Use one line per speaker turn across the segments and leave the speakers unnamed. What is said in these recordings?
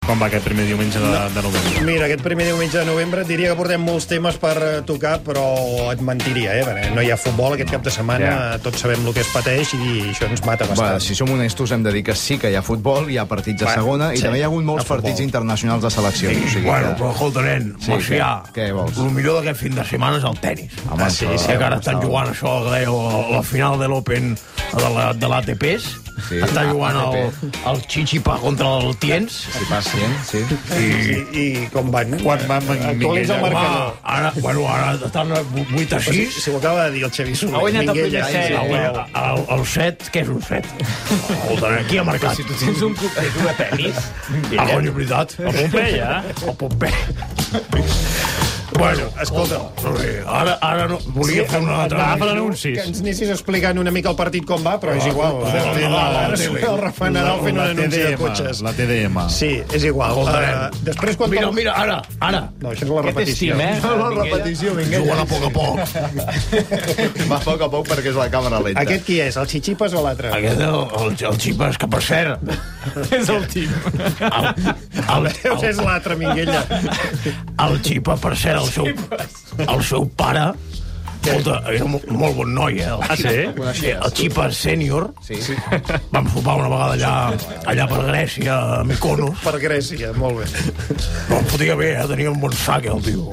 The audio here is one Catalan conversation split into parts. com va aquest primer diumenge de, de novembre?
Mira, aquest primer diumenge de novembre et diria que portem molts temes per eh, tocar, però et mentiria, eh? Perquè no hi ha futbol aquest cap de setmana, eh,
Ja.
tots sabem el que es pateix i això ens mata
Va,
bastant.
si som honestos, hem de dir que sí que hi ha futbol, hi ha partits de
Bueno,
segona, i
sí,
també hi ha hagut molts
a futbol.
partits internacionals de seleccions. o sigui
bueno,
que-
però escolta, nen,
Sí,
sí, Macià,
què- què vols?
el millor d'aquest fin de setmana és el tennis. Ah,
Home,
sí,
això-
sí, que ara estan
estava-
jugant això, que dèieu, la, la final de l'Open de la- de l'ATPs. La,
Sí,
sí, està
ah,
jugant el, el Chichipa contra el Tiens.
Si pacient, sí.
I, I com van?
Quan va Minguella?
Actualitza el
Home,
marcador.
ara, bueno, ara estan 8 a
O sigui,
6.
si ho acaba de dir el Xavi Soler.
Ha guanyat el
Minguella,
primer set.
ai,
El,
Déu.
el, el set, què és un set? Escolta, qui ha marcat?
Si tu
Si és un club que juga a tenis,
Ah, cony, veritat. El
eh?
Pompeia. El Pompeia. Bueno, escolta, no sé, ara, ara no, volia fer una altra...
Agafa
Que
l'anuncis.
ens anessis explicant una mica el partit com va,
Ah,
però és igual.
la tele, la
Ara
tele.
el Rafa Nadal fent un
La
anunci de
TDM.
cotxes.
La TDM.
Sí, és igual.
Escolta,
Eh, després, quan...
Mira,
torn-
mira, ara, ara.
No, això és la
que
repetició.
t'estim, eh?
repetició,
Juguen a poc a poc.
Va a poc a poc perquè és la càmera lenta.
Aquest qui és? El Chichipas o l'altre?
Aquest, el, el, el Xipas, que per cert...
és el tim.
El, el,
Deus és
el,
l'altre, Minguella.
el Xipa, per cert, el seu, el seu pare... Escolta, era un molt bon noi, eh? El
Ah, sí?
Sí, el Xipa sènior.
Sí. sí.
Vam sopar una vegada allà, allà per Grècia, a Mykonos.
Per Grècia, molt bé.
No em fotia bé, eh? Tenia un bon sac, el tio.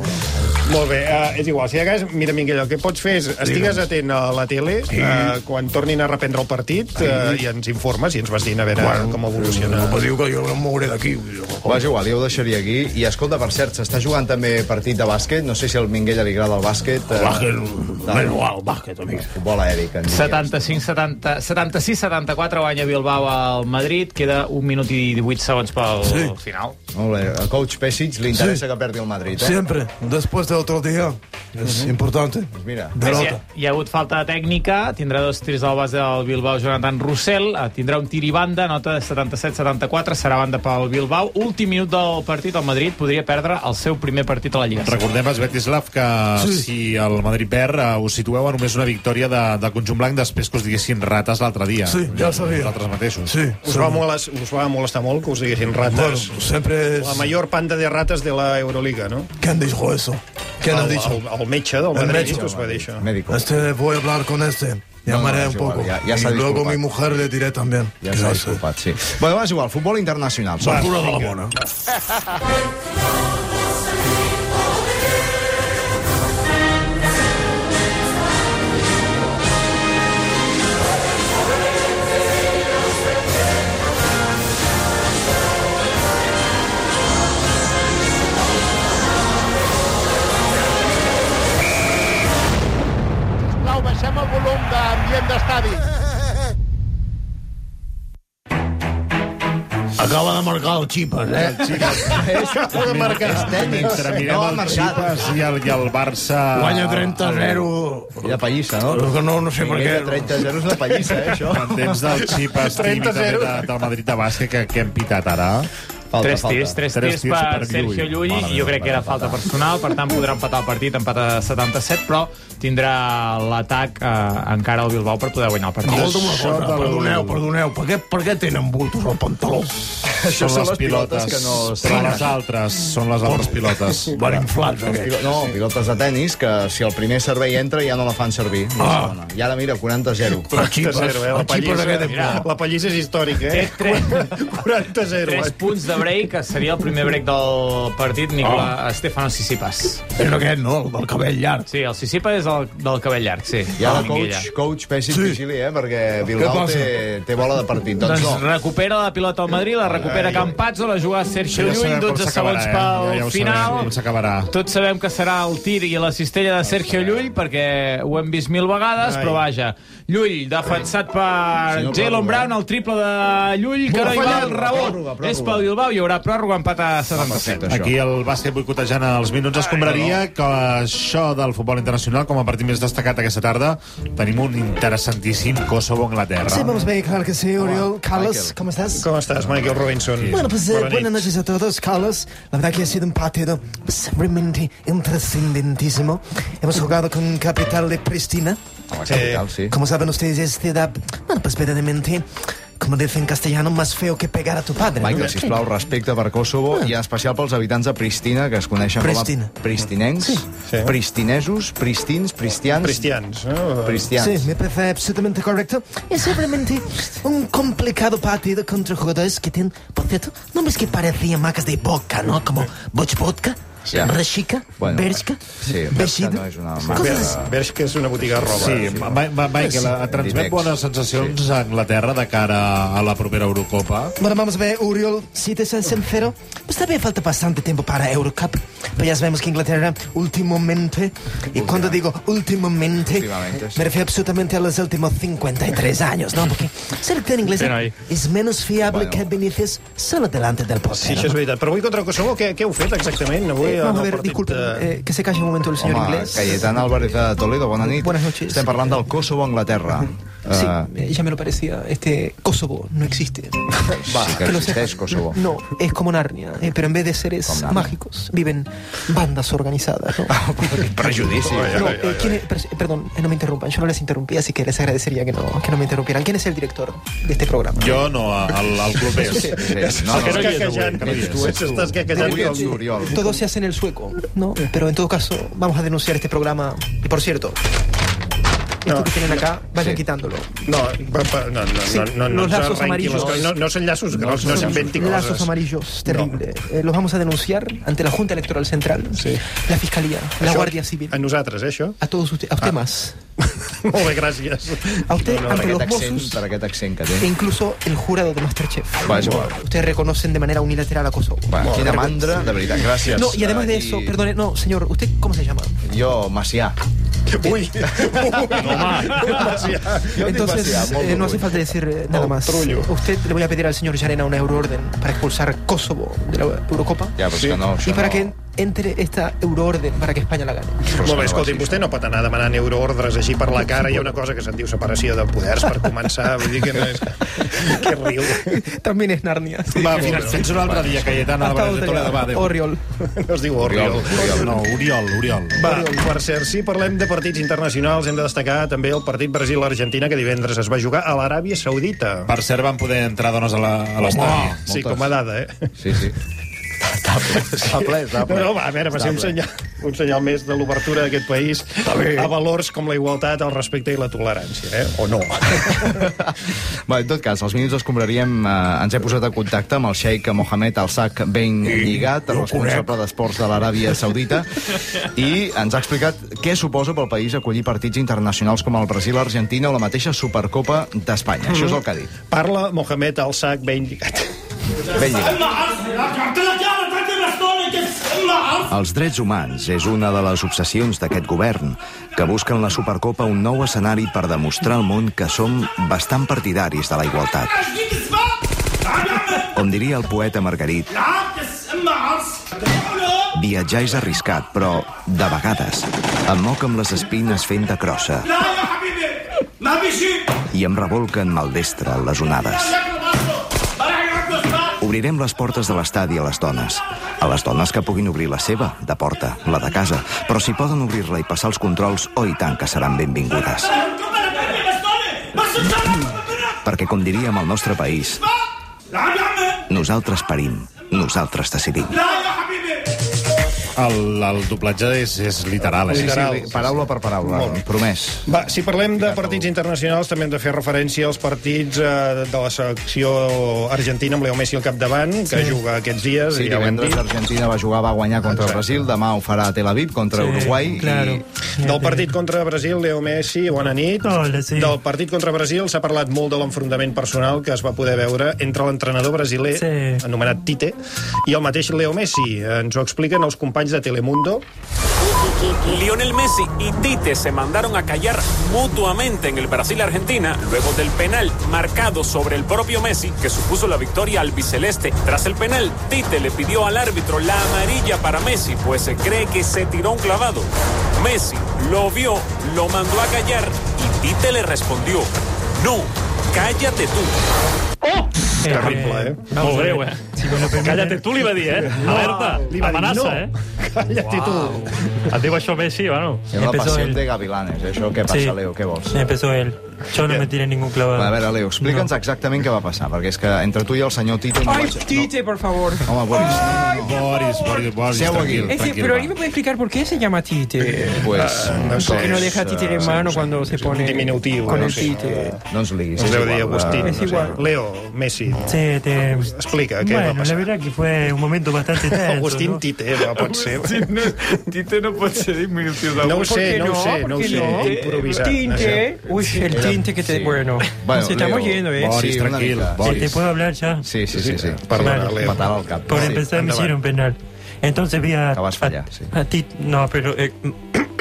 Molt bé, uh, és igual. Si de cas, mira, Minguella, el que pots fer és estigues atent a la tele uh, quan tornin a reprendre el partit uh, i ens informes i ens vas dient a veure bueno, com evoluciona.
Em va dir que jo no em mouré d'aquí.
Va, és igual, jo ho deixaria aquí. I escolta, per cert, s'està jugant també partit de bàsquet. No sé si al Minguella li agrada el bàsquet. eh,
El bàsquet, més igual, el bàsquet, amic.
Futbol aeri, que en diria.
75-70... 76-74 guanya Bilbao al Madrid. Queda un minut i 18 segons pel
Sí.
final.
Molt bé, a coach Pesic li interessa que perdi el Madrid, eh?
Siempre, después de otro día. Es importante.
Mira.
Hi ha,
Derrota.
hi ha hagut falta de tècnica, tindrà dos tirs al base del Bilbao Jonathan Russell, eh, tindrà un tir i banda, nota de 77-74, serà banda pel Bilbao. Últim minut del partit, el Madrid podria perdre el seu primer partit a la Lliga.
Recordem, Esbetislav, que sí. Ah, si el Madrid perd, eh, us situeu a només una victòria de, del conjunt blanc després que us diguessin rates l'altre dia.
Sí, ja ho sabia.
Nosaltres mateixos.
Sí.
Us va, molest, us va molestar molt que us diguessin rates.
Bueno, siempre es...
La mayor panda de rates de la Euroliga, no?
¿Quién dijo eso? ¿Quién ha
El,
dicho?
el, el metge del Madrid
metge.
us va dir això.
Médico.
Este, voy a hablar con este. Llamaré
no, es
un
igual,
poco.
ya- ya
y
se ha
luego
disculpado.
mi mujer le diré también.
Ja
que
s'ha
no sé.
disculpat, sí. Bueno, va, és igual, futbol internacional.
Per cura de la bona.
Sisplau, baixem el volum d'ambient d'estadi.
Acaba de marcar el Xipas, eh?
Acaba de marcar. És tècnic.
Mentre mirem
No ha
el
marcat.
Xipes i el, i el Barça...
Guanya 30 a 0.
I la pallissa, no?
Que no, no sé per
Minguella,
què.
30 0 és la pallissa, eh, això?
En temps del Xipes, i
30
també de,
0.
del Madrid de bàsquet, que, que hem pitat ara.
Falta,
Tres tirs,
falta.
tres,
Tres
tirs,
tirs
per
per
Sergio
Llull.
Llull,
Mare
i jo
meva,
crec que era falta personal, per tant podrà empatar el partit, empat a 77, però tindrà l'atac eh, encara al Bilbao per poder guanyar el partit.
Escolta una cosa, perdoneu, perdoneu, per què, per què tenen bultos al pantaló?
Això són les pilotes que no...
Però les altres, són les altres pilotes.
Van inflats, aquests.
No, pilotes de tennis que si el primer servei entra ja no la fan servir. la
Ah.
segona. I ara mira, 40-0.
Però el Xipas,
Zero, eh? La
el Xipas
pallissa,
aquest de
mira, la pallissa és històrica, eh?
Té tres-
40-0.
3 punts de break, que seria el primer break del partit, Nicola oh. Estefano Sissipas.
És aquest, no? El del cabell llarg.
Sí, el Sissipas és el del cabell llarg, sí.
I ara
el
coach,
Minguella.
coach Pessic
Sí.
vigili, eh? Perquè Bilbao
passa?
té, té bola de partit. Doncs
Doncs
no.
recupera la pilota al Madrid, la recupera Campazzo, la juga Sergio
Ja
Llull,
sabem com
12
s'acabarà, eh?
segons Doncs pel
Ja- ja ho sabem,
final.
com s'acabarà.
Tots sabem que serà el tir i la cistella de Sergio Llull, perquè ho hem vist mil vegades, però vaja. Llull, defensat per
Si no, pròrroga,
Jalen
eh?
Brown, el triple de Llull, que no hi va el
Pròrroga,
rebot.
pròrroga.
És pel Bilbao, hi haurà pròrroga, empat a 77.
Perfecte, això.
Aquí el bàsquet boicotejant els minuts escombraria que això del futbol internacional, com a partit més destacat aquesta tarda, tenim un interessantíssim
Sí,
Kosovo-Anglaterra.
vamos bien, claro que sí, Oriol. Carlos,
Michael.
¿cómo estás?
Com estàs, Michael Robinson?
Bueno, pues eh,
Bona nit.
buenas noches a todos, Carlos. La verdad que ha sido un partido pues, realmente intrascendentísimo. Hemos jugado con Capital de Pristina. Eh,
A la capital, sí.
Como saben ustedes, es ciudad, bueno, pues verdaderamente como dice en castellano, más feo que pegar a tu padre. ¿no?
Michael, sisplau, respecte per Kosovo i en especial pels habitants de Pristina, que es coneixen
Pristina.
com a pristinencs,
Sí.
pristinesos, pristins, pristians,
Cristians, no?
pristians.
Sí, me parece absolutamente correcto. Es simplemente un complicado partido contra jugadores que tienen, por cierto, nombres que parecían marcas de boca, ¿no? Como Boch Vodka,
Sí.
Reshica,
Bueno,
Bershka,
sí, Bershka no és una marca.
cosas
Veus que és una botiga de roba.
Sí, Ma- Ma- Ma- Michael, et transmet
Dinex.
bones sensacions a Anglaterra de cara a la propera Eurocopa.
Bueno, vamos a ver, Uriol, si te soy sincero, pues todavía falta bastante tiempo para Eurocup. Pero ya sabemos que Inglaterra, últimamente, y cuando digo últimamente,
Últimamente, sí.
me refiero absolutamente a los últimos 53 años, ¿no? Porque selección inglesa
Bien ahí.
es menos fiable
Bueno.
que Benítez solo delante del portero.
Sí, això és veritat. Però avui contra Kosovo, què, què heu fet exactament? Avui,
Eh,
en
vamos
el
a ver,
partit,
disculpen,
eh,
eh, que se calle un momento el señor
Home,
inglés.
Cayetan Álvarez de Toledo, bona nit.
Buenas noches.
Estem parlant del Kosovo, Anglaterra.
Sí,
Eh,
eh, ya me lo parecía. Este Kosovo no existe.
va, que
Que lo
existeix
sepas.
Kosovo.
No, es como Narnia, eh, pero en vez de seres
Como Narnia. Ah,
mágicos, viven bandas organizadas. ¿no?
Quin Prejudici.
No, eh, ¿quién es- pers- perdón, eh, no me interrumpan, yo no les interrumpí, así que les agradecería que no, que no me interrumpieran. ¿Quién es el director de este programa?
Jo no, al, al club és.
Sí, no,
que no hi és avui,
quequejant.
que no hi és.
Tu ets- estàs quequejant.
Avui ets Oriol.
Todo se hace en el sueco, ¿no? Pero en todo caso, vamos a denunciar este programa. Y por cierto, esto
No,
que tienen acá, vayan
Sí.
quitándolo.
No, pa- pa- no, no, no,
Sí,
no, no,
los
ens
lazos
arrenqui
amarillos.
les coses. No, no són llaços grocs, no s'inventi
Lazos
coses.
amarillos, terrible. Eh, los vamos a denunciar ante la Junta Electoral Central, la Fiscalía, la
Això
Guardia Civil,
A nosaltres, eh, això?
a todos ustedes, a usted más,
Molt bé, gràcies.
a usted,
Per
ante
aquest
los
accent,
Mossos
per aquest accent que
e
té.
incluso el jurado de Masterchef.
Va, és igual.
Ustedes reconocen de manera unilateral a Kosovo.
Va, quina mandra, de veritat, gràcies.
No, y además de
Eh,
eso, perdone, no, señor, ¿usted cómo se llama?
Jo, Macià.
Ui, ui,
Jo
Entonces,
dic Macià, molt
eh, no hace
orgull.
falta decir eh, nada más. Usted le voy a pedir al señor Yarena una euroorden para expulsar Kosovo de la Eurocopa
Ja, però és que no, això
y para
no.
que entre esta euroorden para que España la gane.
Molt bé, escolti, vostè no pot anar demanant euroordres així per la cara. Hi ha una cosa que se'n diu separació de poders per començar. Vull dir que no és... Que riu.
También es Narnia. sí.
Va, fins, fins un altre dia, Cayetan
Hasta
Álvarez de
otra.
Toledo. Va, adéu.
Oriol.
No es diu Oriol.
No, Oriol, Oriol.
Va, per cert, si parlem de partits internacionals, hem de destacar també el partit Brasil-Argentina, que divendres es va jugar a l'Aràbia Saudita.
Per cert, van poder entrar dones a la- a l'estadi.
Sí,
moltes.
com a dada, eh?
Sí, sí. Està ple, està ple, està
No,
ple.
no, va, a veure, va ser un senyal, un senyal més de l'obertura d'aquest país a valors com la igualtat, el respecte i la tolerància, eh? O no.
Bé, en tot cas, als minuts escombraríem, eh, ens he posat en contacte amb el xeic Mohamed Al-Saq Ben Lligat, el responsable d'esports de l'Aràbia Saudita, i ens ha explicat què suposa pel país acollir partits internacionals com el Brasil, Argentina o la mateixa Supercopa d'Espanya. Això és el que ha dit.
Parla Mohamed Al-Saq ben lligat.
Ben Lligat.
Ui,
Els drets humans és una de les obsessions d'aquest govern, que busca en la Supercopa un nou escenari per demostrar al món que som bastant partidaris de la igualtat. Com diria el poeta Margarit, viatjar és arriscat, però, de vegades, em moc amb les espines fent de crossa i em revolca en maldestre les onades. Obrirem les portes de l'estadi a les dones. A les dones que puguin obrir la seva, de porta, la de casa. Però si poden obrir-la i passar els controls, oh i tant que seran benvingudes. Perquè, com diríem al nostre país, nosaltres parim, nosaltres decidim.
El, el doblatge és, és literal, eh?
Literal.
Paraula per paraula, promès.
Va, si parlem de partits internacionals, també hem de fer referència als partits eh, de la selecció argentina amb Leo Messi al capdavant, que juga aquests dies,
Sí,
i ja ho hem
divendres
dit.
l'Argentina va jugar, va guanyar contra el Brasil, demà ho farà a Tel Aviv contra Uruguai.
claro.
Del partit contra Brasil, Leo Messi, bona nit.
Hola, sí.
Del partit contra Brasil s'ha parlat molt de l'enfrontament personal que es va poder veure entre l'entrenador brasiler,
Sí.
anomenat Tite, i el mateix Leo Messi. Ens ho expliquen els companys de Telemundo.
Lionel Messi y Tite se mandaron a callar mutuamente en el Brasil-Argentina luego del penal marcado sobre el propio Messi que supuso la victoria al biceleste. Tras el penal, Tite le pidió al árbitro la amarilla para Messi, pues se cree que se tiró un clavado. Messi lo vio, lo mandó a callar y Tite le respondió, no, cállate tú.
Terrible, eh?
Molt greu, eh? Calla't, tu li va dir, eh? Alerta,
Li va dir,
amenaça,
no.
eh?
Calla't tu.
Et diu això Messi, bueno...
És la
Empezó
passió
el-
de Gavilanes, això. Què passa, Leo? Què vols?
Empezó él.
Yo no me tiré ningún clavado.
A veure, Leo, explica'ns no. exactament què va passar, perquè és que entre tu i el senyor Tito... No
Ay,
vaig...
Tite, por favor. Ah.
Home, Boris,
Ay, por favor.
Boris, Boris, Boris,
Seu aquí.
tranquil,
Ese-
tranquil.
pero
va.
alguien me puede explicar por qué se llama
Eh,
Tite.
Pues,
ah,
no sé. Que no deja Tite en mano cuando se pone Eh, con el Tite.
No ens liguis.
Es
és
Eh, deu
igual,
dir Agustí.
va.
no sé. Leo, Messi.
Sí, te...
Explica què
Bueno,
va
la
passar.
verdad que fue un momento bastante tenso.
Agustín
¿no?
Tite va, pot ser.
no, Tite no pot ser disminutiu
No ho
¿Por
sé,
qué
no ho sé, no ho
¿Por qué
sé. Improvisar. no sé.
Tinte. Uy, el
Era-
tinte que te...
sí.
Bueno,
Bueno,
nos estamos
Leo,
yendo, ¿eh?
Boris,
Sí,
tranquil,
una mica.
Boris.
Sí, ¿Te puedo hablar ya?
Sí, sí, sí. sí.
Perdona, Leo.
Patada al cap.
Por
Sí.
empezar me hicieron penal. Entonces vi a...
Acabas fallar,
a-
sí.
a ti- No, pero... eh,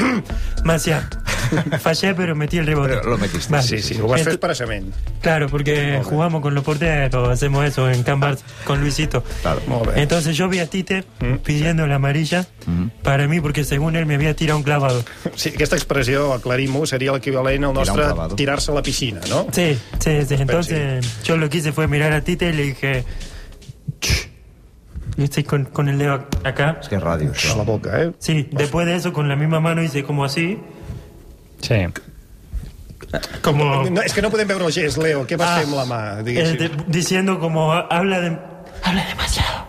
más allá. Fallé, pero metí el rebote.
Pero lo metiste.
Vale.
Sí, sí, ho vas fer
Ento-
expressament.
Claro, porque jugamos con los porteros, hacemos eso en Cambar con Luisito.
Molt bé.
Entonces yo vi a Tite
Mm.
pidiendo la amarilla
Mhm.
para mí, porque según él me había tirado un clavado.
Sí, aquesta expressió, aclarim-ho, seria l'equivalent al
Tirar un
nostre
clavado.
tirar-se a la piscina, no?
Sí, sí, sí. Entonces yo lo que hice fue mirar a Tite y le dije... "Ch". Y estoy con, con el dedo acá.
Es que es radio.
A la boca, eh?
Sí, después de eso con la misma mano hice como así.
Sí.
Como...
No, és que no podem veure el gest, Leo. Què vas
Ah,
fer amb la mà,
eh,
diguéssim?
de- diciendo como ha- habla de... Habla demasiado.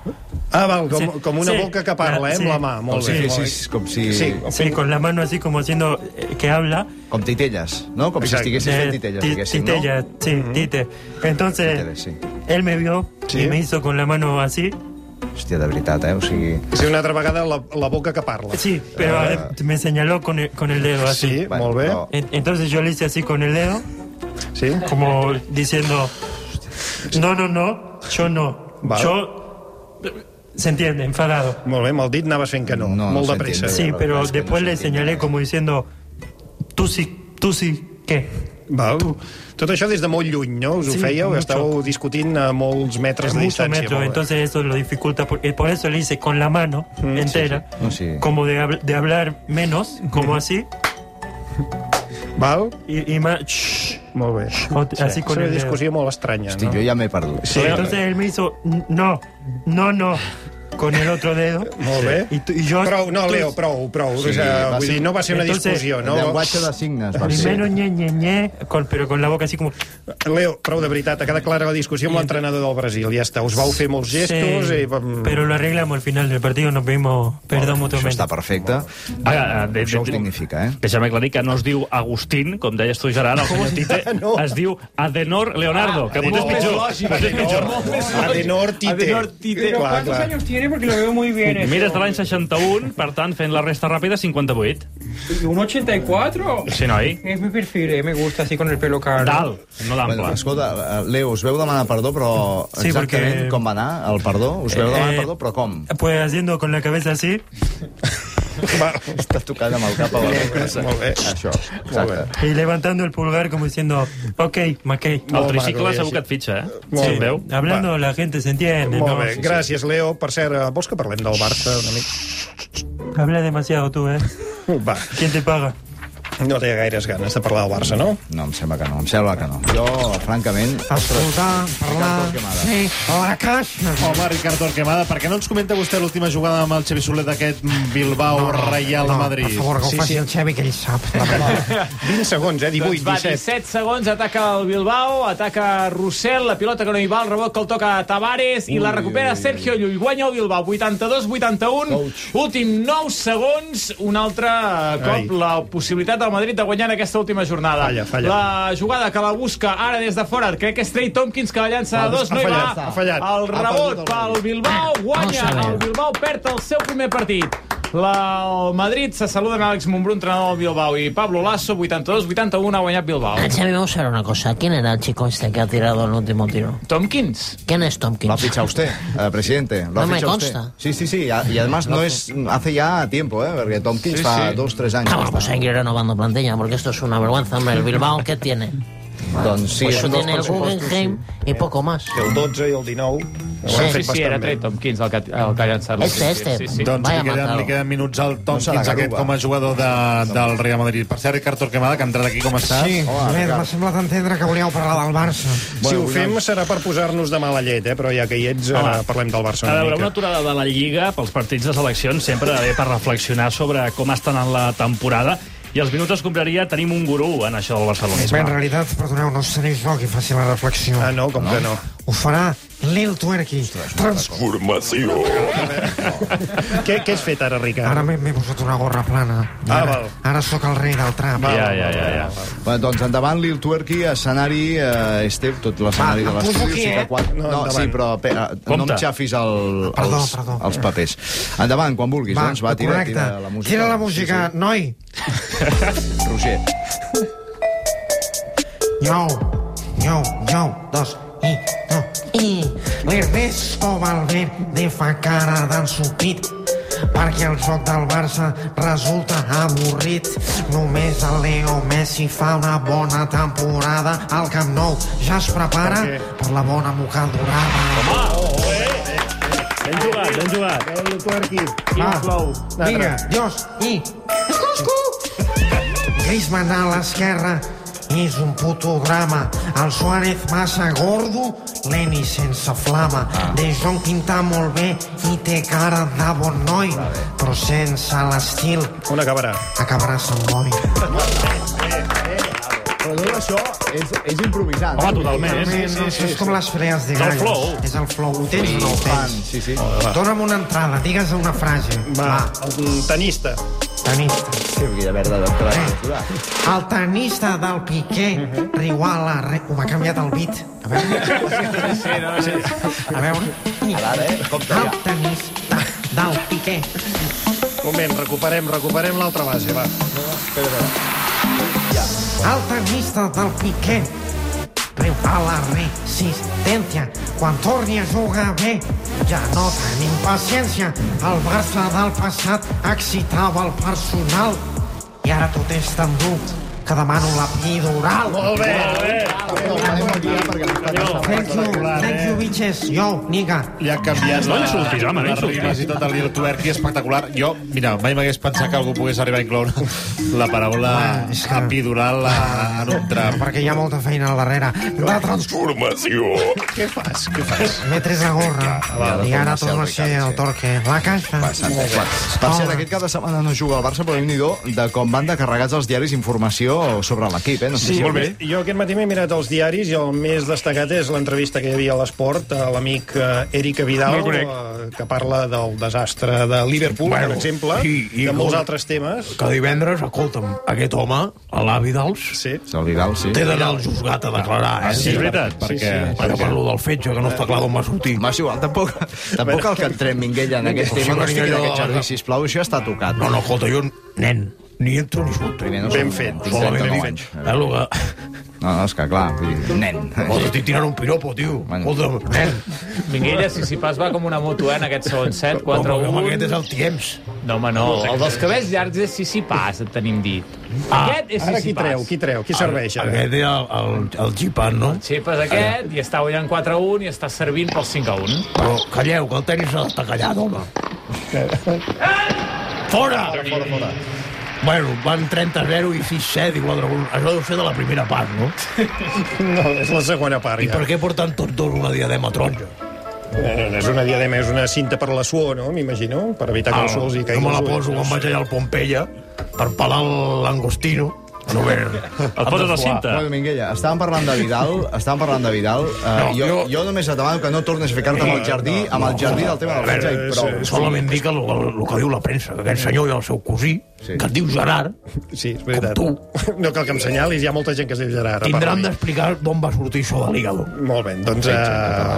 Ah, val, com,
Sí,
com una
sí.
boca que parla, eh,
Sí.
amb la mà. Molt
Com
bé.
si
molt bé.
fessis- com si-
Sí,
Sí, con la mano así como haciendo eh, que habla.
Com titelles, no? Com
Exacto.
si estiguessis fent
Eh,
titelles,
ti-
diguéssim, no?
titelles, sí,
Mm-hmm.
tite. Entonces, él me vio y me hizo con la mano así.
Hòstia, de veritat, eh? O sigui...
Sí, una altra vegada la, la boca que parla.
Sí, pero eh, me señaló con el, con el dedo así.
Sí, molt bé.
En- Entonces yo le hice así con el dedo.
Sí.
Como diciendo, no, no, no, yo no.
Vale.
Yo... Se entiende, enfadado.
Molt bé, amb el dit anaves fent que no, no molt
se
de pressa.
entiende, Sí, pero después le señalé como diciendo, tú sí, tú sí, ¿qué?
Val. Tot això des de molt lluny, no? Us ho
Sí,
fèieu?
mucho.
Estàveu discutint a molts metres de
mucho
distància.
metro,
molt bé.
entonces eso lo dificulta. Por, eh, por eso le hice con la mano
Mm,
entera,
No, sí.
como de, habl- de hablar menos, como así.
Val?
Y, y más. shh.
Molt bé.
O- así con
és una
el dedo.
discussió molt estranya,
Hosti,
no?
jo ja m'he perdut.
Sí, entonces él me hizo, no, no, no, con el otro dedo.
Molt bé.
I tu- i jo-
prou, no,
tu-
Leo, prou, prou.
Sí,
o sigui,
va
vull
ser-
dir, no va ser una
Entonces,
discussió, no?
el llenguatge de
signes
Primero ñe, ñe, ñe, con- pero con la boca así como...
Leo, prou de veritat, ha quedat clara la discussió amb l'entrenador del Brasil, ja està. Us vau fer molts gestos
Sí,
i... vam-
Pero lo arreglamos al final del partido, nos pedimos perdón
Això
mutuamente.
està perfecte.
Ara, eh, de,
Això ho significa, eh?
Deixa'm aclarir que no es diu Agustín, com deies tu, Gerard, el senyor Tite, no. es diu Adenor Leonardo, ah, que potser és pitjor. Potser és pitjor.
Adenor Tite. Adenor Tite.
Pero
Clar,
¿cuántos
clar.
años tiene? Porque lo veo muy bien. eso.
Mira, és de l'any 61, per tant, fent la resta ràpida, 58.
¿Un 84?
Sí, noi.
Es mi perfil, eh, me gusta así con el pelo caro.
Dal, no
Bueno, escolta, eh, Leo, us veu demanar perdó, però
Sí,
exactament
perquè-
com va anar el perdó? Us veu demanar
Eh,
perdó, però com?
Pues haciendo con la cabeza así.
Estàs tocant amb el cap a la boca.
Molt bé.
Això, exacte.
Y levantando el pulgar como diciendo, ok, maquei.
El tricicle segur que et fitxa, eh?
Sí,
Si el veu.
Hablando, la gente se entiende.
Molt
¿no?
bé,
Sí, sí.
gràcies, Leo. Per cert, eh, vols que parlem del Barça una mica?
Habla demasiado tú, ¿eh?
Va.
¿Quién te paga?
No té gaires ganes de parlar del Barça, no?
No, em sembla que no, em sembla que no. Jo, francament...
Escoltar,
parlar...
Sí, la caixa. Home, Ricard Torquemada, per què no ens comenta vostè l'última jugada amb el Xavi Soler d'aquest Bilbao no, Real no, Madrid?
per favor, que ho faci el
Xavi, que ell sap.
20 segons, eh? 18,
Doncs va,
17.
17 segons, ataca el Bilbao, ataca Rossell, la pilota que no hi va, el rebot que el toca a Tavares i la recupera Sergio Llull. Guanya el Bilbao, 82-81, últim 9 segons, un altre cop
Ai.
la possibilitat del Madrid de guanyar en aquesta última jornada.
Falla, falla.
La jugada que la busca ara des de fora, crec que és Trey Tompkins que la llança
Ha-
a dos,
ha
no hi
fallat,
va.
ha fallat.
El
Ha
rebot pel Bilbao, guanya
Vamos a ver.
el Bilbao perd el seu primer partit. La, el Madrid se saluden Àlex Montbrun, entrenador del Bilbao, i Pablo Lasso, 82-81, ha guanyat Bilbao.
Xavi, vamos a ver una cosa. ¿Quién era el chico este que ha tirado el último tiro?
¿Tomkins?
¿Quién es Tomkins?
Lo ha fichado usted, eh, presidente. Lo ha
No me
fichado
consta.
usted. Sí, sí, sí. a- Y además no es hace ya tiempo, ¿eh? Porque Tompkins
Sí,
fa
sí.
dos, tres años.
Vamos, pues hay que ir renovando plantilla, porque esto es una vergüenza, hombre. El Bilbao, ¿qué tiene?
Doncs sí,
pues
en dos
tiene el
pressupostos,
Guggenheim y poco más.
El 12 i el 19.
Sí,
Sí, sí,
sí,
sí, era Trey Tompkins el que, el que ha llançat.
Este, este.
Doncs li
Vaya
queden,
matado.
li queden minuts al Tompkins,
No se la
aquest
garuba.
com a jugador de, del Real Madrid. Per cert, Ricard Torquemada, que ha entrat aquí, com estàs?
Sí, Hola, bé, m'ha semblat entendre que volíeu parlar del Barça.
Si ho fem serà per posar-nos de mala llet, eh? però ja que hi ets, eh,
Home.
parlem del Barça
A
una
veure,
mica.
una aturada de la Lliga pels partits de seleccions sempre ve per reflexionar sobre com estan en la temporada i els minuts els compraria tenim un gurú en això del
Bé, en
Barcelona.
realitat, perdoneu, no seré jo qui faci la reflexió. Ah,
no, com que no?
Ho farà Lil Twerky. Trans...
Formació. què, què has fet ara, Ricard?
Ara m'he m'he posat una gorra plana. I
Ah,
ara,
val.
ara sóc el rei del trap.
Bueno, doncs endavant, Lil Twerky, escenari, eh, Esteve, tot l'escenari
Va,
de
em poso
l'estudi.
aquí,
sota
eh?
quatre-
No,
No,
endavant.
sí, però pe, eh, no em
Compte.
xafis el,
Perdó,
els,
perdó.
els papers. Endavant, quan vulguis,
Va,
doncs. Va, tira,
correcte.
tira la música.
Tira la música, noi.
Roger.
Yo, yo, yo, dos, i, no, i. L'Ernesto Valverde fa cara d'ensupit perquè el joc del Barça resulta avorrit. Només el Leo Messi fa una bona temporada al Camp Nou. Ja es prepara per, la bona mocadorada.
Ben jugat, ben jugat.
Lil Twerky.
Va, vinga, dos, i... Griezmann a l'esquerra és un puto drama. El Suárez massa gordo, Leni sense flama. De Jong pinta molt bé i té cara de bon noi, però sense l'estil.
On acabarà?
Acabarà Sant Boi.
Però tot això és, és improvisant.
Home, totalment. No, això és com les frees de
És eh? el
gallos.
flow.
És el flow. Ho tens o no ho tens?
Sí, sí.
Dóna'm una entrada, digues una frase.
Va, el tenista.
Tenista.
Sí, de merda, doctora.
El tenista del Piqué, riu a la re... Ho m'ha canviat el beat. A veure.
Sí, no, sí.
A veure. A veure, compte ja. El tenista del Piqué.
Un moment, recuperem, recuperem l'altra base, va. Espera, espera.
El tenista del Piqué riu a la resistència. Quan torni a jugar bé, ja no tenim paciència. El Barça del passat excitava el personal i ara tot és tan dur que demano la pidoral.
Molt bé, molt bé.
Thank you, thank you, bitches. Yo, nigga.
Li ha canviat
No li surtis, home, no li
les
surtis.
rimes i tot el Lil Twerky espectacular. Jo, mira, mai m'hagués pensat que algú pogués arribar a incloure la paraula epidural a, en un tram.
Perquè hi ha molta feina al darrere. La transformació.
Què fas? Què fas?
M'he tres la gorra. I ara tot va ser el torque. La caixa.
Per cert, aquest cap de setmana no juga al Barça, però déu nhi de com van de carregats els diaris informació sobre l'equip, eh? No sé si heu vist.
Jo aquest matí m'he mirat els diaris i el més destacat és l'entrevista que hi havia a l'Esport a l'amic eh, Eric Vidal,
No el conec.
eh, que parla del desastre de Liverpool, bueno, per exemple, i, i de molts altres temes.
Que divendres, escolta'm, aquest home, a l'avi d'Als,
sí.
Vidal, sí.
té d'anar al juzgat a declarar, eh?
Ah, sí, és veritat.
Perquè,
Sí, sí.
perquè per lo del fetge, que no està clar d'on va sortir.
M'ha igual, tampoc, tampoc el que entrem Minguella en aquest tema, no estic en aquest jardí, sisplau, això està tocat.
No, no, escolta, jo, nen, ni entro ni surto.
Primer no Ben som- fet. tinc
Solament dic,
39 anys.
eh, lo que-
No, no, és que clar, vull dir, nen.
Escolta, estic tirant un piropo, tio.
Bueno.
Escolta, nen.
Minguella, si s'hi pas va com una moto, eh, en aquest segon set, 4 1
Home, aquest és el temps.
No, home, no. El dels cabells llargs és si s'hi pas, et tenim dit.
Ah,
aquest és
ara
si s'hi
qui
pas.
treu, qui treu, qui serveix? ara?
Aquest era el, el, el xipant, no?
Xipes aquest, i està guanyant 4 a 1 i està servint pel 5 a 1.
Però calleu, que el tenis s'ha d'estar callat, home. Fora!
Fora, fora.
Bueno, van 30-0 i 6-7 i 4-1. Això deu ser de la primera part, no?
No, és la segona part,
I
ja.
per què porten tots dos una diadema taronja?
Eh, no és una diadema, és una cinta per la suor, no? M'imagino, per evitar que el sol els hi
Ah, jo
caigui
me la
als ulls.
poso quan vaig allà al Pompeia per pelar l'angostino. No ve. Et
Bueno, Minguella, estàvem parlant de Vidal, estàvem parlant de Vidal. Uh, no, jo, jo... jo només et demano que no tornes a ficar-te amb el jardí, amb el jardí del tema del fetge i prou.
Solament dic el, el, el que diu la premsa, que aquest senyor i el seu cosí, sí. que es diu Gerard,
Sí, és veritat.
Com
No cal que em senyalis, hi ha molta gent que es diu Gerard. a part
tindran
de mi.
d'explicar d'on va sortir això de l'hígado.
Molt bé, doncs eh,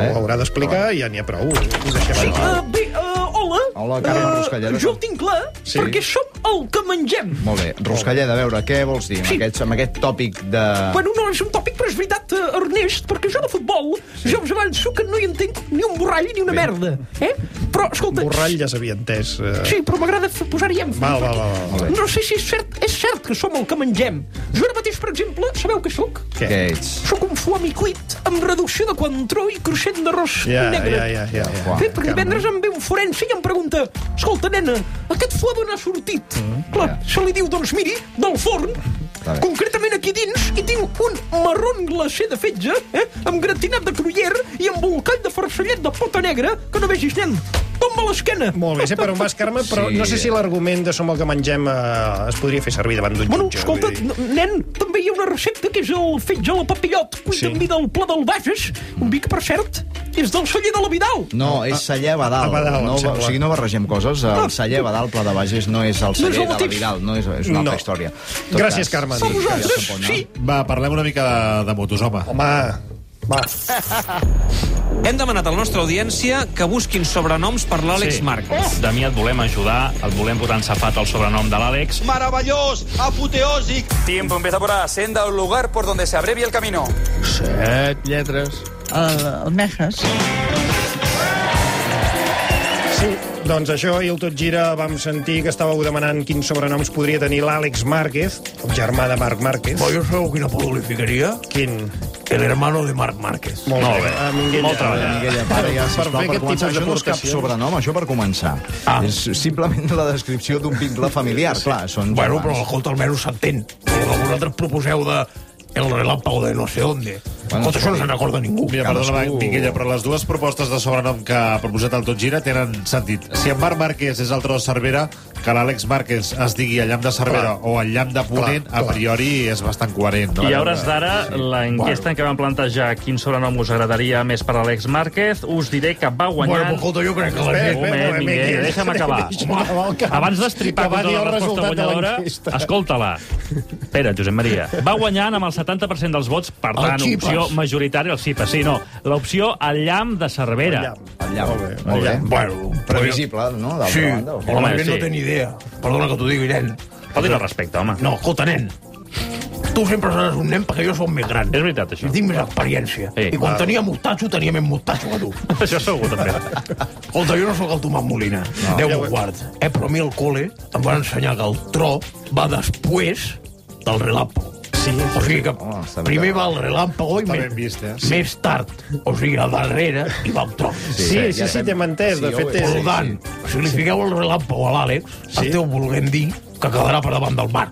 ho haurà d'explicar i ja n'hi ha prou. Ho deixem
Sí,
anar.
uh, bé, uh, hola.
Hola, Carme Ruscalleda.
Jo ho tinc clar,
Sí.
sí. perquè som el que mengem.
Molt bé. Ruscalleda, a veure, què vols dir amb, aquest, amb aquest tòpic de...
Bueno, no és un tòpic, però és veritat, eh, Ernest, perquè jo de futbol, sí. jo us avanço que no hi entenc ni un borrall ni una merda. Eh? Però, escolta...
Borrall ja s'havia entès. Eh...
Sí, però m'agrada fer- posar-hi èmfasi.
Val, val, val, val.
No sé si és cert, és cert que som el que mengem. Jo ara mateix, per exemple, sabeu què sóc?
Què ets?
Sóc un fuami cuit amb reducció de quantró i cruixent d'arròs
Ja,
negre.
ja, ja, ja.
Uau, Fet, perquè divendres em ve un forense i em pregunta escolta, nena, aquest foie d'on ha sortit? Mm, Clar, se li diu, doncs miri, del forn,
Està bé.
concretament aquí dins, i tinc un marron glacé de fetge, eh, amb gratinat de cruller i amb un call de farcellet de pota negra que no vegis, nen. Toma, tomba a l'esquena.
Molt bé, sé per on vas, Carme, però
Sí.
sí. no sé si l'argument de som el que mengem eh, es podria fer servir davant d'un
Bueno,
jutge.
escolta,
vull dir.
n- nen, també hi ha una recepta que és el fetge a la papillot, cuit sí. amb vi del Pla del Bages, un vi que, per cert, és del celler de la Vidal. Ah,
No, és celler Badal.
a Badal, em
no,
sembla.
o sigui, no barregem coses. El celler Badal, Pla de Bages, no és el celler
el
de la
mateix.
Vidal. No és, és una altra
No.
història. En tot
Gràcies,
cas,
Carme.
sí, Carles Campony, no?
Va, parlem una mica de, de motos, home.
Home, va.
Hem demanat a la nostra audiència que busquin sobrenoms per l'Àlex
Sí.
sí. Marcos.
Damià, et volem ajudar, et volem posar en safat el sobrenom de l'Àlex.
Meravellós, apoteòsic. Tiempo empieza por A, senda o lugar por donde se abrevia el camino.
Set lletres.
Almejas. Sí, doncs això, i el Tot Gira vam sentir que estàveu demanant quins sobrenoms podria tenir l'Àlex Márquez, el germà de Marc Márquez.
Bueno, jo sabeu quin apodo li ficaria?
Quin?
El hermano de Marc Márquez.
Molt
Molt bé.
Ah, Minguella.
Molt treballat. Minguella, pare, ja,
Per
sisplau,
fer
per
aquest
començar,
tipus
això no és cap
d'aportacions.
sobrenom, això per començar. És simplement la descripció d'un vincle familiar, clar, són
Bueno, però
germans.
escolta, almenys s'entén. El que vosaltres proposeu de el relámpago de no sé dónde. Bueno, escolta, això no se'n recorda ningú.
Mira, perdona,
Cadascú.
Minguella, però les dues propostes de sobrenom que ha proposat el Tot Gira tenen sentit. Si en Marc Márquez és el tros Cervera, que l'Àlex Márquez es digui el llamp de Cervera clar, o el llamp de Ponent, clar, a priori és bastant coherent. No?
I a hores d'ara, la enquesta en què vam plantejar quin sobrenom us agradaria més per a Àlex Márquez, us diré que va guanyant...
Bueno, escolta, jo crec que la
Espera,
gent-
espera,
Moment,
moment, Minguella,
Minguella,
deixa'm acabar.
deixa'm acabar el
Home,
camp.
Abans d'estripar
Que va
tota
dir
la
el
resposta
resultat de
guanyadora,
l'enquesta.
escolta-la. Espera, Josep Maria. Va guanyant amb el 70% dels vots, per
El
tant,
Xipes.
opció majoritària, el Xipes. Sí, no, l'opció el llamp de Cervera.
El llamp. Molt bé,
molt bé. Bueno,
previsible, no? D'altra
sí,
banda, o
Home,
què?
home,
Sí.
no té ni idea. Perdona que t'ho digui, nen.
Pot dir respecte, home.
No, escolta, nen. Tu sempre seràs un nen perquè jo sóc més gran.
És veritat, això.
I tinc més experiència.
Sí.
I quan
Ah.
tenia mostatxo, tenia més mostatxo que tu.
Això segur, també.
Escolta, jo no sóc el Tomàs Molina. No. Déu m'ho guard. Eh, però a mi al col·le em van ensenyar que el tro va després del relampo. Sí, o sigui que primer va el relàmpago i
Està
més,
ben vist, eh?
més tard, o sigui, a darrere, i va el tro.
Sí, sí, sí, sí, t'hem entès, de fet, és-
Per tant, si li fiqueu el relàmpago a l'Àlex, sí. esteu volent dir que quedarà per davant del mar,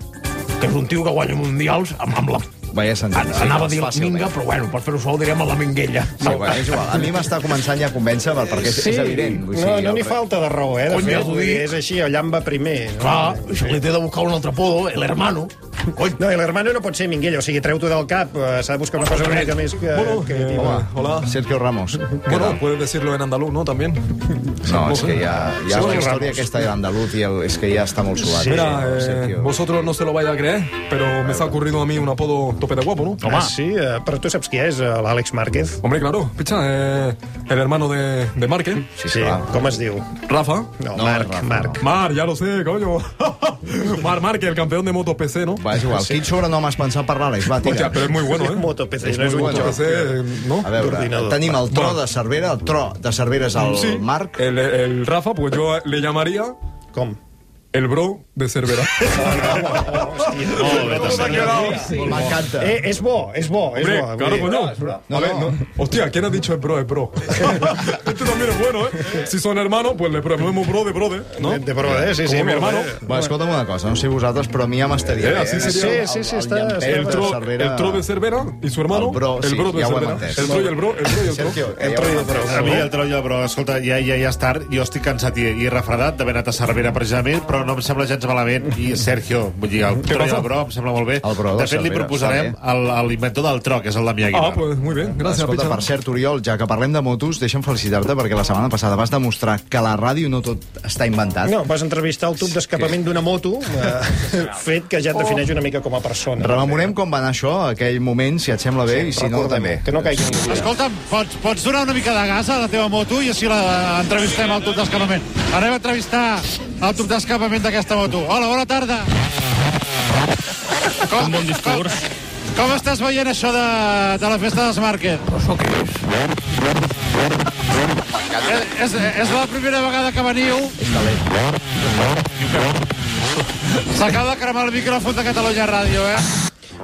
que és un tio que guanya mundials amb, amb la...
Vaja sentit.
An anava a dir la minga, però bueno, per fer-ho suau direm a la minguella.
Sí, bueno, és igual. A mi m'està començant ja a convèncer, perquè és, és evident. vull
no,
dir,
no n'hi
el-
falta de raó, eh? De
Cony, ja
fet,
t'ho
vull dir,
dic.
és així, el llamp va primer. No?
Clar, se li té de buscar un altre apodo, el hermano. Cony.
No, el hermano no pot ser Minguella, o sigui, treu-t'ho del cap, eh, s'ha de buscar una cosa una mica més que,
Bueno,
creativa.
hola, Eh, hola.
Sergio Ramos.
Bueno, puedes decirlo en andaluz, ¿no? También.
No, es que ya, ya
Sergio
la historia
Ramos.
que está de andaluz y el- es que ya está muy suave.
Mira, eh, vosotros no se lo vais a creer, pero me se ha ocurrido a mí un apodo tope de guapo, ¿no?
Ah, sí, eh, però tu saps qui és, eh, l'Àlex Márquez?
Hombre, claro, picha, eh, el hermano de, de Marque.
Sí, sí, com es diu?
Rafa.
No, Marc, Marc.
Mar, ya lo sé, coño. Mar Marque, el campeón de Moto PC, ¿no?
Va, és igual. Quin sobrenom has pensat per l'Àlex? Va, tira.
Hòstia, però és muy bueno, eh?
Moto PC,
És
no és
muy
un
bueno.
joc. PC, no?
A veure,
D'ordinador.
tenim el tro
Va.
de Cervera, el tro de Cervera és el
Sí.
Marc.
El, el Rafa, pues yo le llamaría...
¿Cómo?
El bro de Cervera.
Molt
bé, també. M'ha quedat.
M'encanta.
Eh, és bo, és bo, és
Hombre,
bo. vull
claro,
dir-
coño. A ver, no. Hostia, ¿quién ha dicho el bro? El bro. Este también es bueno, ¿eh? Si son hermanos, pues le ponemos bro de brother, ¿no?
De brother, sí, sí,
Como mi
molt
hermano.
bé.
Va, escolta'm una cosa, no sé vosaltres, però a mi ja m'estaria
Eh,
bé.
así sería
El-
el-
el- el
el,
llampeu
el,
de
tro,
Cervera.
el tro de Cervera y su hermano.
El bro, sí,
bro de
ja ho hem
Cervera.
entès.
El tro y el bro, el tro y el bro.
Sergio,
eh,
El tro i el bro. A mi el tro i el bro. Escolta, ja, ja, ja és tard, jo estic cansat i, i refredat d'haver anat a Cervera precisament, però no em sembla gens malament. I Sergio, vull dir, el tro i el bro em sembla molt bé.
El bro de
de fet, li
Cervera,
proposarem
està
al- a l'inventor del tro, que és el Damià Aguilar.
Ah, pues muy bien,
Escolta, per cert, Oriol, ja que parlem de motos, deixa'm felicitar-te perquè la setmana passada vas demostrar que a la ràdio no tot està inventat.
No, vas entrevistar el tub d'escapament d'una moto, eh, fet que ja et defineix una mica com a persona.
Rememorem com va anar això, aquell moment, si et sembla bé, i si no,
recorda-m'ho,
també.
que no caigui en l'oblit.
Escolta'm, pots, pots donar una mica de gas a la teva moto i així la entrevistem al tub d'escapament. Anem a entrevistar el tub d'escapament d'aquesta moto. Hola, bona tarda. Com, Un bon discurs. Com, com estàs veient això de, de la festa dels Márquez? Però això què és? Eh, És, és la primera vegada que veniu. S'acaba de cremar el micròfon de Catalunya Ràdio, eh?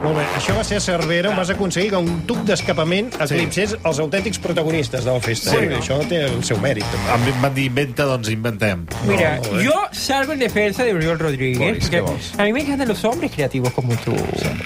Molt bé, això va ser a Cervera, on vas aconseguir que un tub d'escapament eclipsés els autèntics protagonistes de la festa.
Sí.
Sí. Això té el seu mèrit.
A mi em van dir inventa, doncs inventem.
Mira, yo salgo en defensa de Oriol Rodríguez.
eh. Boris, ¿qué
porque
vos?
a mí me encantan los hombres creativos como tú.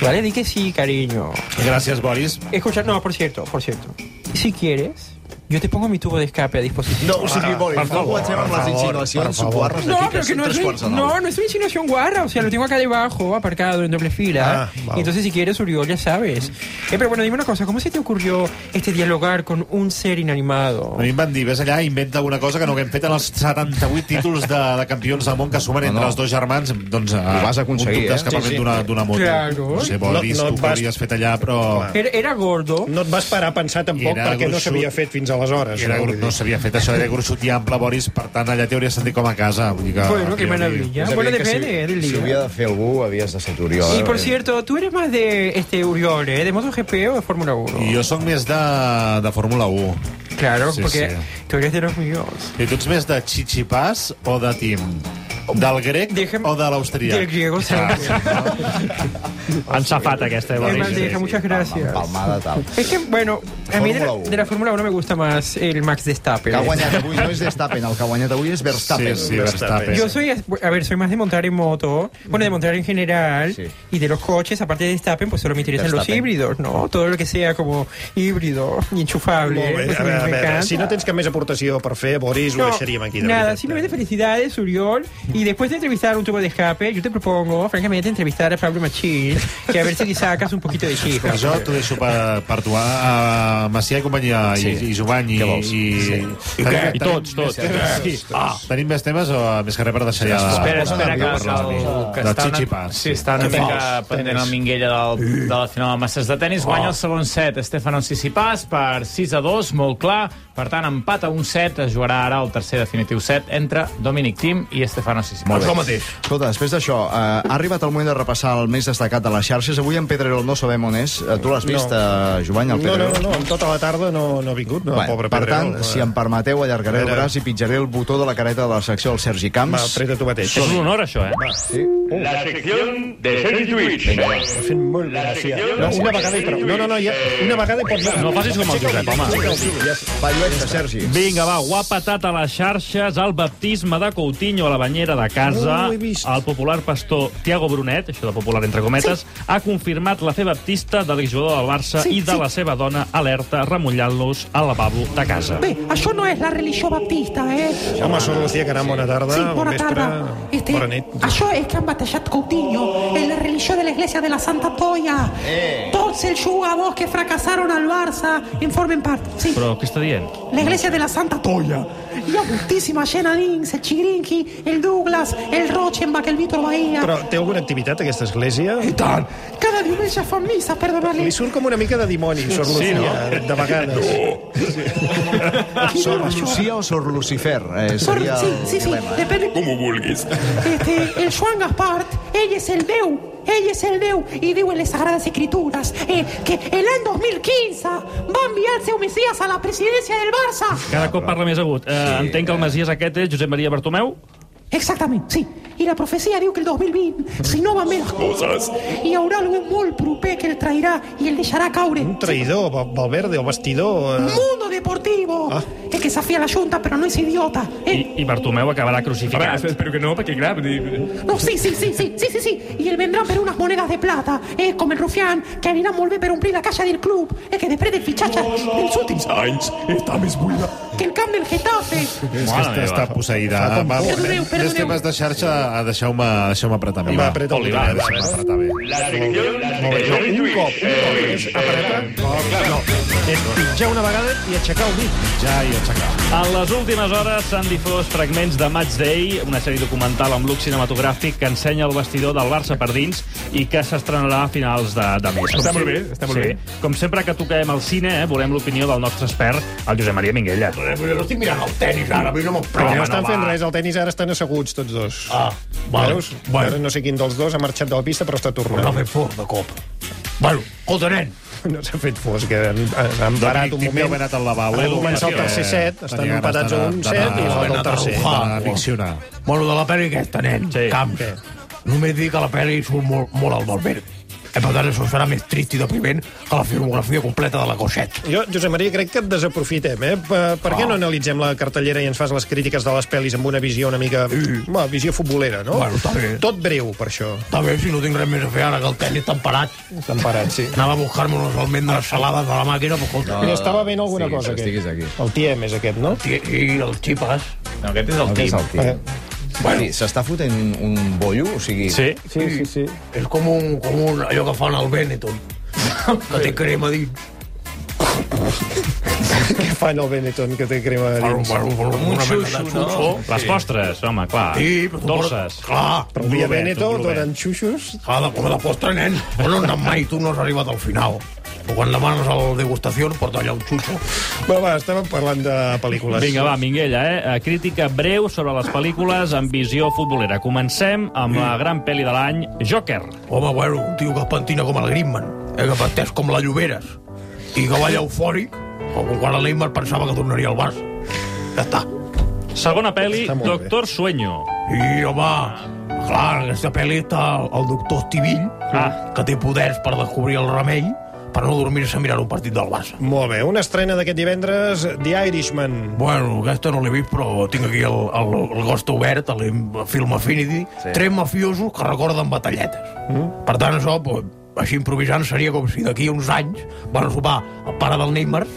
¿Vale? Di que sí, cariño.
Gràcies, Boris.
Escucha, no, por cierto, por cierto. Si quieres, Yo te pongo mi tubo de escape a disposición.
No, o sigui, Bori, no comencem amb les insinuacions guarres
No,
aquí, que
pero que
són
no es,
tres
una-
quarts de nou.
no, no es una insinuación guarra. O sea, lo tengo acá debajo, aparcado en doble fila.
Ah, wow.
Entonces, si quieres, Uriol, ya sabes. Eh, pero bueno, dime una cosa. ¿Cómo se te ocurrió este dialogar con un ser inanimado?
A mi em van dir, ves allà, inventa alguna cosa que no haguem fet en els 78 títulos de, de campions del món que sumen entre els dos germans. Doncs, Ho
vas aconseguir,
un
eh?
escapament
Sí, sí.
d'una d'una moto.
Claro.
No sé, vol
No-
dir,
no
no,
et
tu
vas-
que havies fet allà, Ah, però...
Era, era gordo.
No et vas parar a pensar tampoc
Era
perquè no
gruixut.
s'havia fet fins aleshores. eh,
Era,
no?
gru- no s'havia fet això, era gruixut i ample, Boris, per tant, allà t'hauries sentit com a casa. Vull dir que,
Bueno, qué
que
maravilla.
És
Bueno,
evident que
eh,
depende
si,
del
Si
día.
ho havia de fer algú, havies de ser tu, Oriol.
Y por cierto, ¿tú eres más de este Uriol, eh? ¿De MotoGP o de Fórmula 1?
Jo sóc més de, de Fórmula 1.
Claro, porque tú eres de los míos.
I tu ets més de Chichipàs o de Tim? Del grec o de Ah, l'austríac?
Del griego, seguro.
Han safat aquesta, eh,
Eh,
Boris?
Bandeja, muchas gracias.
Palmada, tal.
Es que, bueno, a mí de la,
Fórmula 1.
de la Fórmula 1 me gusta más el Max
Que
Verstappen. ¿eh?
ha guanyat avui no és Verstappen, el que ha guanyat avui és Verstappen.
Sí, sí, Verstappen.
Yo soy, a ver, soy más de montar en moto, bueno, de montar en general, y de los coches, aparte de Verstappen, pues solo me interesan los
Verstappen.
híbridos, ¿no? Todo lo que sea como híbrido y enchufable.
Molt bé,
pues
a veure, a
me
veure,
encanta.
si no tens cap més aportació per fer, Boris, ho
No,
deixaríem aquí. De
nada, simplemente felicidades, Uriol. Y después de entrevistar un tubo de escape, yo te propongo, francamente, entrevistar a Pablo Machín, que a ver si le sacas un poquito de chispa.
Per això t'ho deixo per, per tu. eh? A, a Macià i companyia, sí. i, i Jovany, i... I, sí.
I què? I tots, tots.
Sí. Ah. Tenim més temes o més que res per deixar ja...
Espera, espera, que,
Per les
el,
amics.
que
De
està, una,
Chichipàs.
sí, està una
Tenis.
mica pendent el Minguella del, de la final de masses de
Oh.
tennis. Guanya el segon set Estefano Sissipàs per 6 a 2, molt clar. Per tant, empat a un set. Es jugarà ara el tercer definitiu set entre Dominic Thiem i Estefano Sissipàs.
Escolta, després d'això, eh, ha arribat el moment de repassar el més destacat de les xarxes. Avui en Pedrerol no sabem on és. Eh, Tu l'has vist, no. Jovany, el
No, no,
Pedrerol?
no, no, amb tota la tarda no, no ha vingut, no,
Bueno,
pobre
per
Pedrerol. eh.
tant, si em permeteu, allargaré el
Pedrerol.
braç i pitjaré el botó de la careta de la secció del Sergi Camps.
Va, apreta tu mateix.
Som-hi.
És un honor, això, eh?
Va, sí.
La sección de Sergi Twitch.
Vinga, va. Ho fent molt bé, gràcies. No, una vegada i prou. No, no, no, ja, una vegada i pots...
No facis com el
Aixeca
Josep, home.
aixeca el dit, ja està.
Va, lluita, Sergi.
Vinga, va, ho ha patat a les xarxes el baptisme de Coutinho a la banyera de casa.
No ho he vist.
el popular pastor Tiago Brunet, això de popular entre cometes, ha confirmat la fe baptista de l'exjugador del Barça
Sí,
i de
sí.
la seva dona alerta remullant-los al lavabo de casa.
Bé, això no és la religió baptista, eh?
Home, sóc Lucía Caram, bona tarda,
Sí,
bon
bona
vespre,
tarda. Este,
bona nit.
Això és que han batejat Coutinho en la religió de la Iglesia de la Santa Toya. Tots els jugadors que fracassaron al Barça en formen part. Sí,
Però què està dient?
la Iglesia de la Santa Toya. La justíssima Jenna Dings, el Chigrinki, el Douglas, el Rochenbach, el Vitor Bahia.
Però té alguna activitat, aquesta església? I
tant! Cada diumenge fan missa, perdona-li.
Li surt com una mica de dimoni, Sor
Sí,
Lucía,
no?
de vegades.
Sor Lucía o Sor Lucifer? Eh,
Sor-
seria
sí, sí, sí,
el dilema. eh?
depende.
Com ho vulguis.
Este, el Joan Gaspart, ell és el Déu, ell és el Déu, i diu en les Sagrades Escrituras eh, que l'any 2015 va enviar el seu Messias a la presidència del Barça.
Cada cop parla més agut. Eh, entenc que el Masies aquest és Josep Maria Bartomeu?
Exactament, sí. I la profecia diu que el 2020, si no van bé les coses, hi haurà algú molt proper que el trairà i el deixarà caure.
Un traïdor, Val- Valverde, el vestidor... eh.
Mundo Deportivo! Es que desafía la Junta, però no és idiota. Eh,
I Bartomeu acabarà crucificat.
Home,
espero que no, perquè clar... Vull
No, Oh, sí, sí, sí, sí, sí, sí, sí. Y él vendrá por unas monedas de plata. Es como el rufián que anirà molt bé per omplir la caixa del club. Es que després del fitxatge dels últims anys Eh, està més buida que el camp del Getafe.
És que està, està posseïda.
Fa com
Va,
por, eh?
més
Perdoneu.
temes de xarxa, ah, deixeu-me deixeu apretar bé.
Va, apreta-ho bé, Ah,
eh?
va, va, va.
apretar bé.
Molt bé, no, un cop, un cop, eh, és apretar... No, clar, no. És pitjar una vegada i aixecar el dit.
Ja i aixecar.
En les últimes hores s'han difós fragments de Match Day, una sèrie documental amb look cinematogràfic que ensenya el vestidor del Barça per dins i que s'estrenarà a finals de, de mes.
Està
Com
molt
sempre-
bé, està molt bé.
Com sempre que toquem el cine, eh, volem l'opinió del nostre expert, el Josep Maria Minguella.
No estic mirant el tenis ara, a mi no me'n
Però
home,
no estan
no,
fent
va.
res, al tennis ara estan asseguts tots dos.
Ah, vale.
Veus?
Bueno.
Ara no sé quin dels dos ha marxat de la pista, però està tornant.
No m'he fort, de cop. Bueno, escolta, nen. Doncs
No s'ha fet fos, que han, han parat un moment.
Ben anat al lavabo.
Ara comença el tercer set, estan empatats a un set i falta el tercer.
Diccionar.
Bueno, de la pel·li aquesta, nen, sí. Camps. Només dic que la pel·li surt molt, molt al Valverde. Eh, per tant, això serà més trist i depriment que la filmografia completa de la Gosset.
Jo, Josep Maria, crec que et desaprofitem, eh? Per, per què no analitzem la cartellera i ens fas les crítiques de les pel·lis amb una visió una mica... Sí. Bueno, visió futbolera, no?
Bueno, està bé.
Tot breu, per això.
Està bé, si no tinc res més a fer ara que el tenis temperat.
Temperat, sí.
Anava a buscar-me unes almendres salades a la màquina, però escolta...
Li estava ben alguna
sí,
cosa,
estiguis
aquest. Aquí. El Tiem és aquest, no?
Sí, i el Xipas.
No, aquest és el
Aquest és
Tim.
el Tim. Bueno. Eh, Sí, s'està fotent un, un bollo, o sigui...
Sí. Sí, sí, sí. És com, un, com un, allò que fan al Benetton, que té crema dins.
Què fan el Benetton, que té crema a dins?
Una mena de xuxo. Les postres, home, clar.
Sí, però tu
Dolces.
Clar,
Però via Benetton donen xuxos.
Clar, de comer la postre, nen. Bueno, no, mai tu no has arribat al final. Però quan demanes el degustació porta allà un xuxo.
Va, va, estàvem parlant de pel·lícules.
Vinga, va, Minguella, eh? Crítica breu sobre les pel·lícules amb visió futbolera. Comencem amb la gran pel·li de l'any, Joker.
Home, bueno, un tio que es pentina com el Griezmann, eh, que pateix com la Lloberes, i que balla eufòric, com quan el Neymar pensava que tornaria al Barça. Ja està.
Segona pel·li, Doctor Sueño.
I, home, clar, en aquesta pel·li està el doctor Estivill, ah. que té poders per descobrir el remei, per no dormir-se mirant un partit del Barça.
Molt bé, una estrena d'aquest divendres, The Irishman.
Bueno, aquesta no l'he vist, però tinc aquí el, el, el gost obert, el Film Affinity, sí. tres mafiosos que recorden batalletes. Mm. Per tant, això, pues, així improvisant, seria com si d'aquí a uns anys van a sopar el pare del Neymar,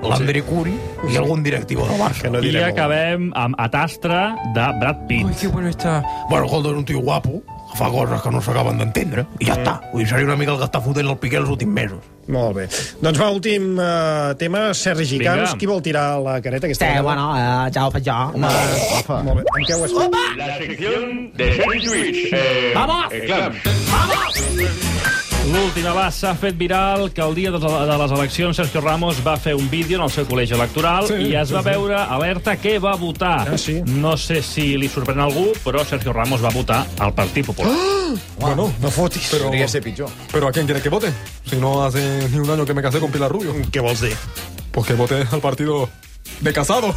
l'André Curi i algun directiu del Barça.
no I acabem amb Atastra, de Brad Pitt.
Ai, que bueno está.
Bueno, Goldo és un tio guapo, que fa coses que no s'acaben d'entendre, i ja està. Vull dir, seria una mica el que està fotent el Piqué els últims mesos.
Molt bé. Doncs va, últim uh, tema, Sergi
Vinga.
Camps. Qui vol tirar la careta? Aquesta
Sí,
vegada?
bueno, eh, ja ho faig jo.
Home, Molt bé. En què ho has fet?
La sección de Sergi Lluís. Eh,
Vamos.
eh, Clams.
L'última va, s'ha fet viral que el dia de de les eleccions Sergio Ramos va fer un vídeo en el seu col·legi electoral
Sí,
sí, i es va
sí, sí.
veure alerta què va votar.
Ah, sí.
No sé si li sorprèn a algú, però Sergio Ramos va votar al Partit Popular.
Ah!
Bueno, no fotis. Pero,
Podría ser pitjor.
Pero ¿a quién quiere que vote? Si no hace ni un año que me casé con Pilar Rubio.
¿Qué vols dir?
Pues que vote al partido de casado.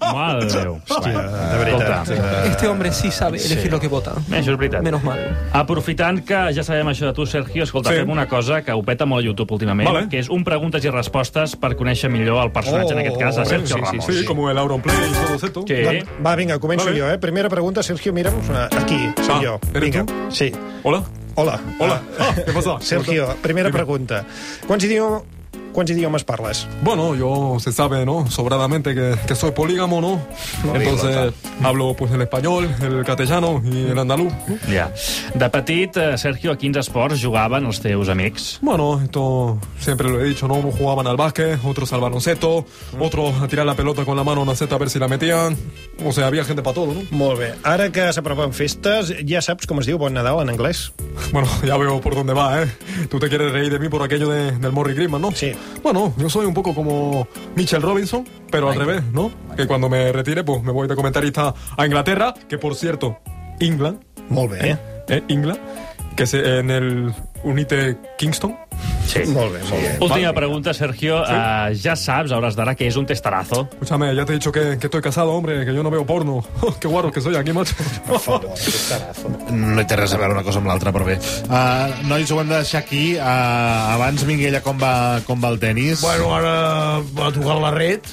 Madre de Déu.
Hòstia,
de veritat.
Este hombre sí sabe elegir
Sí.
lo que vota.
Això és veritat.
Menos mal.
Aprofitant que ja sabem això de tu, Sergio, escolta,
Sí.
sí. fem una cosa que ho peta molt a YouTube últimament,
Vale.
que és un preguntes i respostes per conèixer millor el personatge, en aquest cas, a Sergio Ramos.
Sí, como el Auronplay y todo esto.
Sí.
Doncs, Va, vinga, començo
Vale.
jo, eh? Primera pregunta, Sergio, mira'm. eh, Aquí, soc
Ah,
jo.
¿eres
Vinga.
tú?
Sí.
Hola.
Hola.
Hola. Ah, ¿Qué pasa?
Sergio, primera pregunta. Quants, idioma, quants idiomes parles?
Bueno, yo se sabe, ¿no? Sobradamente que, que soy polígamo, ¿no? Entonces hablo pues el español, el castellano y el andaluz. ¿no?
Ja. De petit, eh, Sergio, a quins esports jugaven els teus amics?
Bueno, esto siempre lo he dicho, ¿no? Unos jugaban al básquet, otros al baloncesto, otros a tirar la pelota con la mano en la seta a ver si la metían. O sea, había gente para todo, ¿no?
Molt bé. Ara que s'apropen festes, ja saps com es diu Bon Nadal en anglès?
Bueno, ya veo por dónde va, ¿eh? Tú te quieres reír de mí por aquello de- del Morris Griezmann, ¿no? Sí. Bueno, yo soy un poco como Mitchell Robinson, pero al revés, ¿no? Que cuando me retire, pues me voy de comentarista a Inglaterra, que por cierto, England.
Molt bé.
Eh, eh, England, que se, en el Unite Kingston.
Sí.
Molt bé, molt bé.
Última pregunta, Sergio. Sí. Uh, ja saps, a hores d'ara, que és un testarazo.
Escúchame, ya te he dicho que, que estoy casado, hombre, que yo no veo porno. Qué guarro que soy aquí, macho.
No hi té res a veure una cosa amb l'altra, però bé. Uh, nois, ho hem de deixar aquí. Uh, abans, Minguella, com va, com va el tennis?
Bueno, ara ha tocat la red,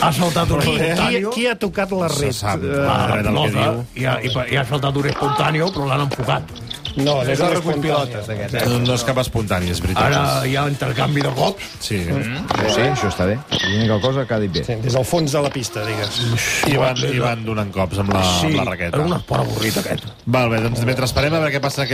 ha saltat un
Qui, qui,
espontàneo...
qui ha tocat la red?
sap.
Eh,
Va,
la
la pilota,
pilota.
I ha, i, pa- i ha saltat un espontàneo, però l'han enfocat.
No, no
És
és
el
un
recull
espontàneo.
pilotes, eh?
d'aquest,
No, no és cap espontani, és veritat.
Ara hi ha intercanvi de cops.
Sí. Mm.
No sé, això està bé. És L'única cosa que ha dit bé.
Sí, des del fons de la pista, digues.
I van, I van donant cops amb la,
Sí,
amb la raqueta.
era un esport avorrit, aquest.
Val bé, doncs mentre esperem a veure què passa aquest